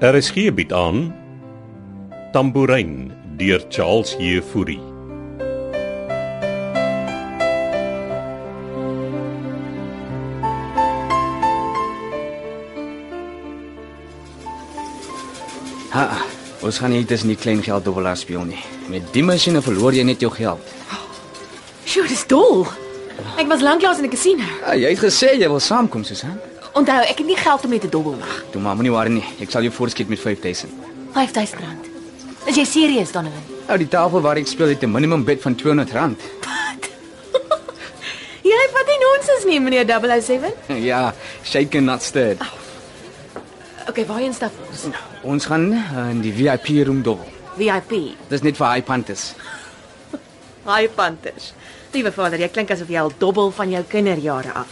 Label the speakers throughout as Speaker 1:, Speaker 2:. Speaker 1: RSG bied Er aan Tambourin deur Charles Jefouri.
Speaker 2: Ha, Ah, ons gaan nie tussen die klein geld dobbelaar speel nie. Met die masjiene verloor jy net jou geld.
Speaker 3: Sjoe, dis dol. Ek was lanklaas in 'n casino.
Speaker 2: Ja, jy het gesê jy wil saamkom, Susan.
Speaker 3: Onthou, ek het nie geld om mee te dobbel nie.
Speaker 2: Toe maar moenie worry nie. Ek sal jou voorskiet met 5000.
Speaker 3: R5000. Is jy serieus, Donovan?
Speaker 2: Ou, Nou, die tafel waar ek speel het 'n minimum bid van R200.
Speaker 3: Jy vat nie nonsens nie, meneer 007.
Speaker 2: ja, shake and not stirred.
Speaker 3: Okay, waarheen stap ons?
Speaker 2: Ons gaan eh, in die VIP room dobbel.
Speaker 3: VIP.
Speaker 2: Dis net vir high pantes.
Speaker 3: Hi Panthers. Liewe vader, jy klink asof jy al dobbel van jou kinderjare af.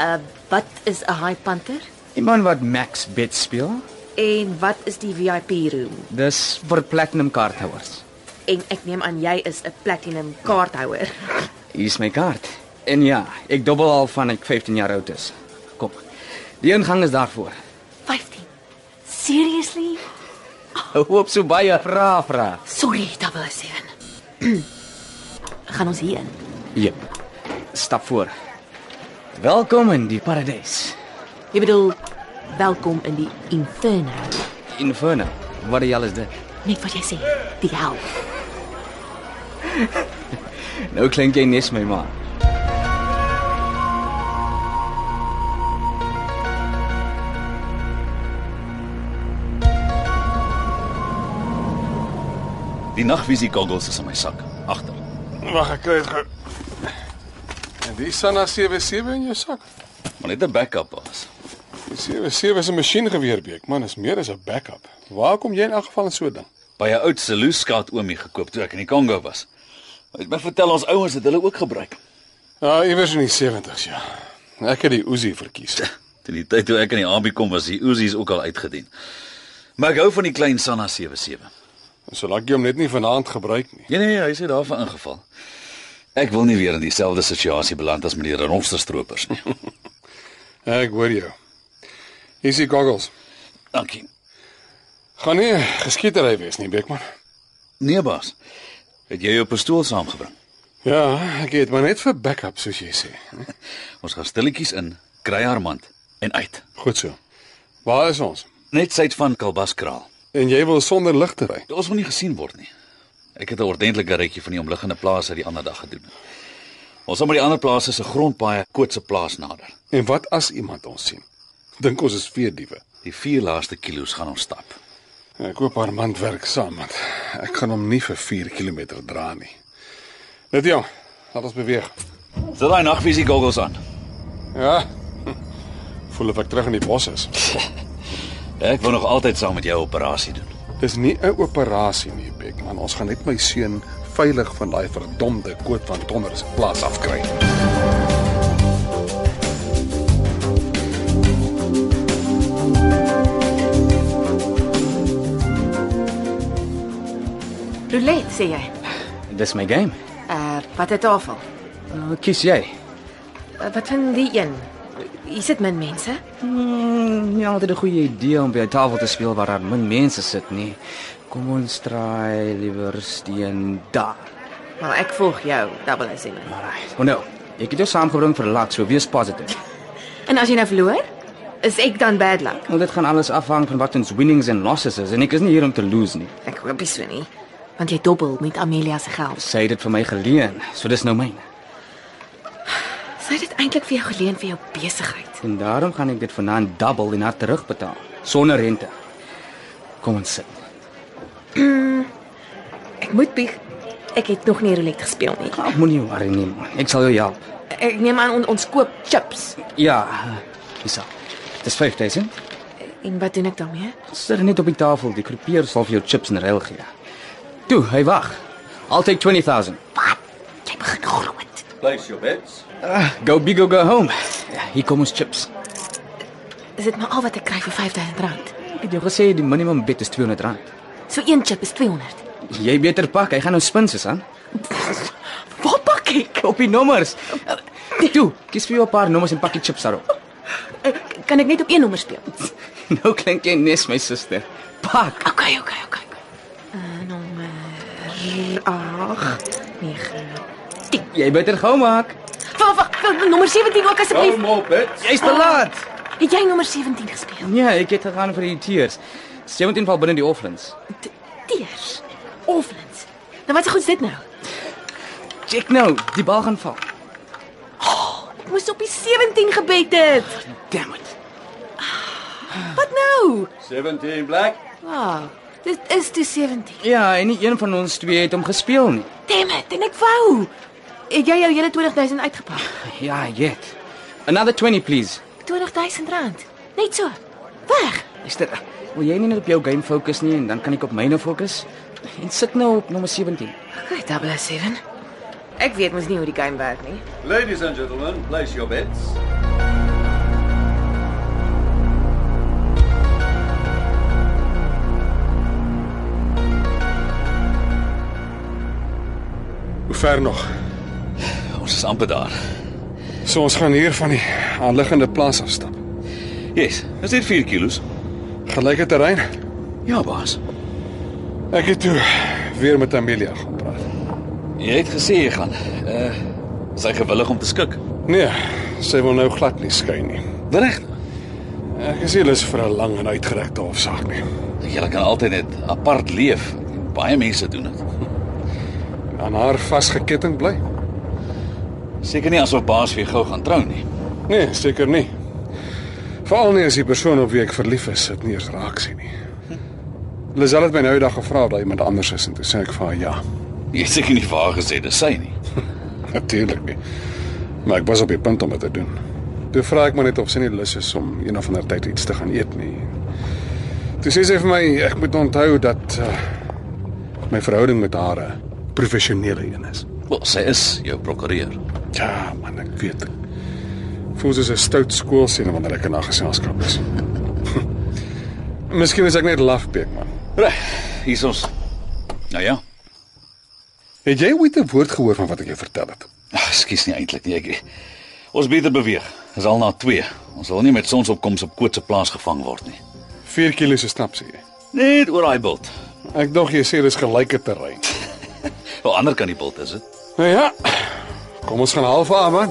Speaker 3: Uh, wat is 'n high panther?
Speaker 2: Die man wat max bid speel,
Speaker 3: En wat is die VIP room?
Speaker 2: dis vir platinum kaarthouers.
Speaker 3: En ek neem aan jy is 'n platinum kaarthouer.
Speaker 2: Hier is my kaart. En ja, ek dobbel al van ek 15 jaar oud is. Kom. Die ingang is daarvoor.
Speaker 3: 15. Seriously?
Speaker 2: Hou op so baie vra vra.
Speaker 3: Sorry, 007. Gaan ons hier in.
Speaker 2: Jep. Stap voor. Welkom in die paradys.
Speaker 3: Jy bedoel welkom in die inferno.
Speaker 2: Inferno. Wat die hel is dit?
Speaker 3: Net wat jy sê, die hel.
Speaker 2: Nou klink jy nes my ma.
Speaker 4: Die nagvisie goggles is in my sak, agter.
Speaker 5: Wag, ek kry dit gou. En dis Sana 77 in jou sak.
Speaker 4: Maar net 'n backup was.
Speaker 5: Die 77 is 'n masjiengeweerbeek, man, is meer as 'n backup. Waar kom jy in elk geval in so 'n ding?
Speaker 4: By 'n oud Seluskaat oomie gekoop toe ek in die Kongo was. Hy het my vertel ons ouens het hulle ook gebruik.
Speaker 5: Ja, iewers in die 70's, ja. Ek het die Uzi verkies.
Speaker 4: Teen die tyd toe ek in die Abi kom was die Uzis ook al uitgedien. Maar ek hou van die klein Sanna 77.
Speaker 5: En Solank jy hom net nie vanaand gebruik nie.
Speaker 4: Nee nee, hy sê daarvan ingeval. Ek wil nie weer in dieselfde situasie beland as met die renosterstroopers nie.
Speaker 5: Ja, Ek hoor jou. Hier is die goggles.
Speaker 4: Dankie.
Speaker 5: Gaan nie geskietery wees nie, Beekman.
Speaker 4: Nee baas. Het jy jou pistool saamgebring?
Speaker 5: Ja, ek het maar net vir backup soos jy sê.
Speaker 4: Ons gaan stilletjies in, kry haar mand en uit.
Speaker 5: Goed so. Waar is ons?
Speaker 4: Net syd van Kalbaskraal.
Speaker 5: En jy wil sonder lig te ry.
Speaker 4: Ons wil nie gesien word nie. Ek het 'n ordentlike rytjie van die omliggende plase uit die ander dag gedoen. Ons sal maar die ander plase se grondpaaie Kootse plaas nader.
Speaker 5: En wat as iemand ons sien? Dink ons is veerdiewe.
Speaker 4: Die vier laaste kilos gaan ons stap.
Speaker 5: Ek koop haar mand werk saam want ek gaan hom nie vir 4 km dra nie. Net ja, laat ons beweeg.
Speaker 4: Sit daai nagvisie goggles aan.
Speaker 5: Ja. Voel of ek terug in die bos is.
Speaker 4: Ek wil nog altyd saam met jou operasie doen.
Speaker 5: Dis nie 'n operasie nie, Beckman. Ons gaan net my seun veilig van daai verdomde koot van Tonder se plaas afkry.
Speaker 3: Roulette sê jy.
Speaker 2: Dis my game.
Speaker 3: Uh, wat 'n tafel.
Speaker 2: Nou kies jy.
Speaker 3: Uh, wat van die een? Hier sit min mense.
Speaker 2: Hmm, nie altyd 'n goeie idee om by 'n tafel te speel waar daar min mense sit nie. Kom ons try liewer steen daar.
Speaker 3: Wel, ek volg jou, 007.
Speaker 2: Alraai. Oh nou, ek het jou saamgebring vir lag, so wees positief.
Speaker 3: En as jy nou verloor, is ek dan bad luck.
Speaker 2: Want dit gaan alles afhang van wat ons winnings en losses is en ek is nie hier om te lose nie.
Speaker 3: Ek hoop nie so nie, want jy dobbel met Amelia se geld.
Speaker 2: Sy het dit vir my geleen, so dis nou myne.
Speaker 3: Sy het dit eintlik vir jou geleen vir jou besigheid.
Speaker 2: En daarom gaan ek dit vanaand dubbel en haar terugbetaal sonder rente. Kom ons sit.
Speaker 3: Ek moet bieg. Ek het nog nie roulette gespeel nie.
Speaker 2: Ag, Ah, moenie worry nie. man. Ek sal jou help.
Speaker 3: Ek neem aan on, ons koop chips.
Speaker 2: Ja, dis al. Dis 5000.
Speaker 3: En wat doen ek daarmee?
Speaker 2: Sit net op die tafel, die kroepeer sal vir jou chips en ruil gee. Toe, hy wag. Altyd 20000.
Speaker 3: Jy begin groot.
Speaker 4: Place your bets.
Speaker 2: Uh, go big or go home. Ja, Hier kom ons chips.
Speaker 3: Is dit maar al wat ek kry vir R5000?
Speaker 2: Ek het jou gesê die minimum bet is 200 rand.
Speaker 3: So een chip is 200.
Speaker 2: Jy beter pak, hy gaan nou spin Susan.
Speaker 3: Waar pak ek?
Speaker 2: Op die nommers. Toe, kies vir jou 'n paar nommers en pak die chips daarop.
Speaker 3: Ek- Kan ek net op een nommer speel?
Speaker 2: Nou klink jy nes my suster. Pak.
Speaker 3: OK, OK, OK. Uh, nommer 8 9 10.
Speaker 2: Jy beter gou maak.
Speaker 3: Wag, wag, wag, nommer 17 ook asseblief.
Speaker 4: op, dit.
Speaker 2: Jy's te laat.
Speaker 3: Het jy nommer 17 gespeel?
Speaker 2: Nee, ek het gegaan vir die teers. 17 val binne die offlins.
Speaker 3: T- Teers. Offlands. Nou wat se goed is dit nou?
Speaker 2: Check nou, die bal gaan val.
Speaker 3: Ek moes op die 17 gebed het.
Speaker 2: Damn it.
Speaker 3: Wat nou?
Speaker 4: 17 black.
Speaker 3: Wow. Dit is toe 17.
Speaker 2: Ja, en nie een van ons twee het hom gespeel nie.
Speaker 3: Damn it, en ek wou. Het jy jou hele 20000 uitgepak?
Speaker 2: Ja, jet. Another 20 please.
Speaker 3: 20000 rand. Net so. Weg.
Speaker 2: Luister, wil jy nie net op jou game fokus nie en dan kan ek op myne fokus? En sit nou op nommer 17.
Speaker 3: Okay, 007. Ek weet mos nie hoe die game werk nie.
Speaker 4: Ladies and gentlemen, place your bets.
Speaker 5: Hoe ver nog?
Speaker 4: Ons is amper daar.
Speaker 5: So ons gaan hier van die aanliggende plaas afstap.
Speaker 4: Yes, is dit 4 kilos?
Speaker 5: Gelyke terrein.
Speaker 4: Ja, baas.
Speaker 5: Ek het toe weer met Amelia gaan praat.
Speaker 4: Jy het gesê jy gaan. Uh sy gewillig om te skik.
Speaker 5: Nee, sy wil nou glad nie skei nie.
Speaker 4: Reg.
Speaker 5: Ek is nie lus vir 'n lang en uitgerekte hofsaak nie.
Speaker 4: Jy kan altyd net apart leef. Baie mense doen dit.
Speaker 5: En aan haar vasgeketting bly?
Speaker 4: Seker nie asof baas weer gou gaan trou nie.
Speaker 5: Nee, seker nie. Veral nie as die persoon op wie ek verlief is dit nie eens raak sien nie. Lisel het my nou eendag gevra of daar iemand anders is en toe sê ek vir haar ja.
Speaker 4: Jy het seker nie vir haar gesê dis sy nie.
Speaker 5: Natuurlik nie. Maar ek was op die punt om dit te doen. Toe vra ek maar net of sy nie lus is om een of ander tyd iets te gaan eet nie. Toe sê sy vir my ek moet onthou dat uh, my verhouding met haar 'n professionele een is.
Speaker 4: Wel, sy is jou prokureur.
Speaker 5: Ja, man, ek weet. Ek voel soos 'n stout skoolseun wanneer ek in haar geselskap is. Miskien is ek net lafbeek, man.
Speaker 4: Reg. Hier is ons. Nou ja.
Speaker 5: Het jy ooit 'n woord gehoor van wat ek jou vertel het?
Speaker 4: Ag, ekskuus nie eintlik nie. Ek Ons beter beweeg. Dis al na 2. Ons wil nie met sonsopkoms op Kootse plaas gevang word nie.
Speaker 5: 4 kilo se stap sê jy.
Speaker 4: Net oor daai bult.
Speaker 5: Ek dink jy sê dis gelyke terrein.
Speaker 4: Wel ander kan die bult is dit.
Speaker 5: Nou ja. Kom ons gaan half aan, man.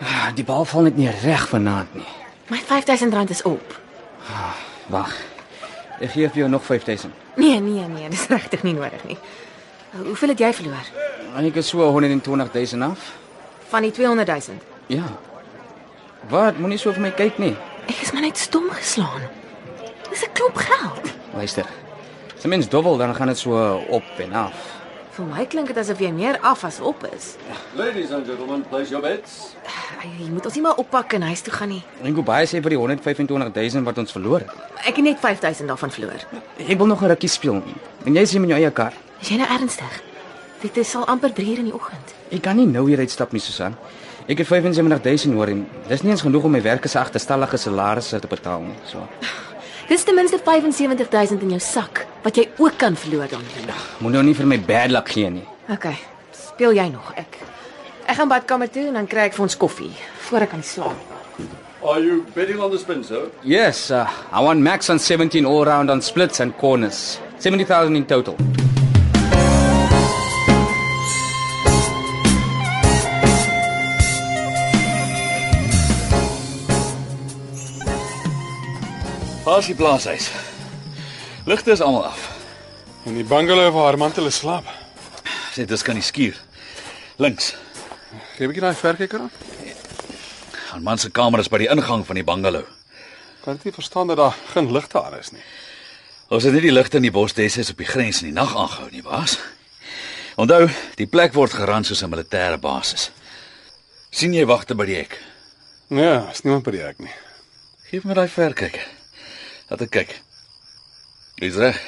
Speaker 2: Ah, Die bal val net nie reg vanaand nie.
Speaker 3: My 5000 rand is op.
Speaker 2: Wag. Ek gee vir jou nog 5000.
Speaker 3: Nee, nee, nee, dis regtig nie nodig nie. Hoeveel het jy verloor?
Speaker 2: En ek is so 120000 af.
Speaker 3: Van die 200000.
Speaker 2: Ja. Wat, moenie so vir my kyk nie.
Speaker 3: Ek is maar net stom geslaan. Dis 'n klomp geld.
Speaker 2: Luister. As 'n mens dobbel dan gaan dit so op en af.
Speaker 3: Vir my klink dit asof jy meer af as op is.
Speaker 4: Ladies and gentlemen, place your bets.
Speaker 3: Ai, Jy moet ons nie maar oppak en huis toe gaan nie.
Speaker 2: Ek hoop baie sê vir die 125000 wat ons verloor het.
Speaker 3: Ek het net 5000 daarvan verloor.
Speaker 2: Ek wil nog 'n rukkie speel. En jy sien met jou eie kar.
Speaker 3: Is jy nou ernstig? Dit is al amper 3 uur in die oggend.
Speaker 2: Ek kan nie nou hier uitstap nie, Susan. Ek het 75000 hoor en dis nie eens genoeg om my werkers se agterstallige salarisse te betaal nie. So,
Speaker 3: Dis ten minste 75000 in jou sak wat jy ook kan verloor dan.
Speaker 2: moet nou nie vir my bad luck gee nie.
Speaker 3: OK. Speel jy nog? Ek Ek gaan badkamer toe en dan kry ek vir ons koffie voor ek kan slaap.
Speaker 4: Are you betting on the spin, sir?
Speaker 2: Yes, uh, I want max on 17 all round on splits and corners. 70000 in total.
Speaker 4: Pas die plaashuis. Ligte is almal af.
Speaker 5: In die bungalow waar Armand hulle slaap.
Speaker 4: Sê dis kan nie skuur. Links.
Speaker 5: Gee 'n bietjie daai verkyker aan.
Speaker 4: Aan man se kamer is by die ingang van die bungalow.
Speaker 5: Kan dit nie verstaan dat daar geen ligte aan is nie.
Speaker 4: Ons het nie die ligte in die bos desyds op die grens in die nag aangehou nie, baas. Onthou, die plek word gerand soos 'n militêre basis. sien jy wagte by die hek.
Speaker 5: Ja, is niemand by die hek nie.
Speaker 4: Geef my daai verkyker. Laat ek kyk. Dis reg.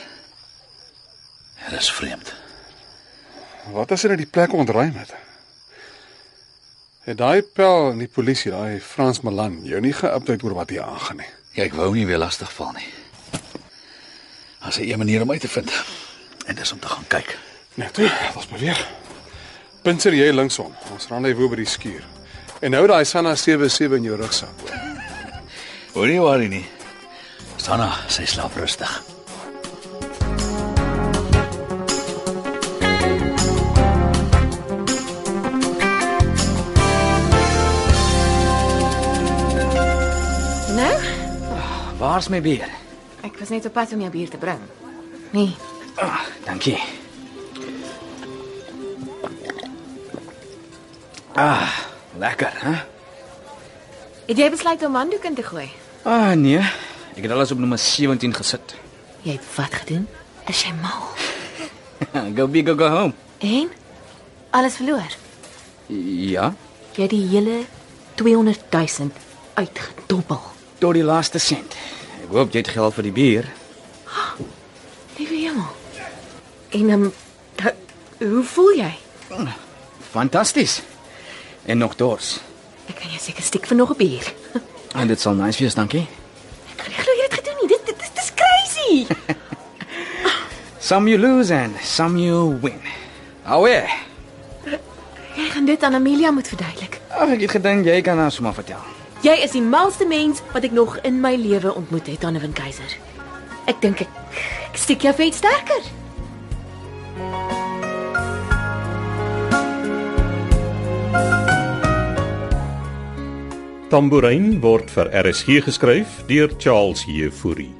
Speaker 4: Dit is vreemd.
Speaker 5: Wat as hulle die plek ontruim het? Het daai pel in die polisie, daai Frans Malan, jou nie ge-update oor wat hier aangaan nie.
Speaker 4: Ja, ek wou nie weer lastig val nie. As hy 'n manier om uit te vind en dis om te gaan kyk.
Speaker 5: Nou toe, ons beweeg. Pinter jy linksom. Ons rendezvous by die skuur. En nou daai Sanna 77 in jou rugsak.
Speaker 4: Hoor nie waar nie. Sanna, sy slaap rustig.
Speaker 3: Nou,
Speaker 2: Waar's my bier?
Speaker 3: ek was net op pad om jou bier te bring. Nee,
Speaker 2: Dankie. Ah, lekker, hè?
Speaker 3: het jy besluit om handdoek in te gooi?
Speaker 2: Ah nee, ek het alles op nommer 17 gesit.
Speaker 3: Jy het wat gedoen? Is jy mal?
Speaker 2: go big go, go home.
Speaker 3: En alles verloor.
Speaker 2: Ja,
Speaker 3: Jy het die hele 200 000 uitgedobbel.
Speaker 2: tot die laaste sent. Ek hoop jy het geld vir die bier.
Speaker 3: Liewe hemel. En um, da, hoe voel jy?
Speaker 2: Fantasties. En nog dors.
Speaker 3: Ek kan jou seker stiek vir nog 'n bier.
Speaker 2: En dit sal nice wees, dankie.
Speaker 3: Ek kan nie glo jy het dit gedoen nie. Dit dit dit is crazy.
Speaker 2: Some you lose and some you win. Awe.
Speaker 3: Jy gaan dit aan Amelia moet verduidelik.
Speaker 2: Ag ek het gedink jy kan haar sommer vertel.
Speaker 3: Jy is die malste mens wat ek nog in my lewe ontmoet het, Donovan Keiser. Ek dink ek ek stiek jou vet sterker.
Speaker 1: Tambourin word vir RSG geskryf deur Charles Heffury.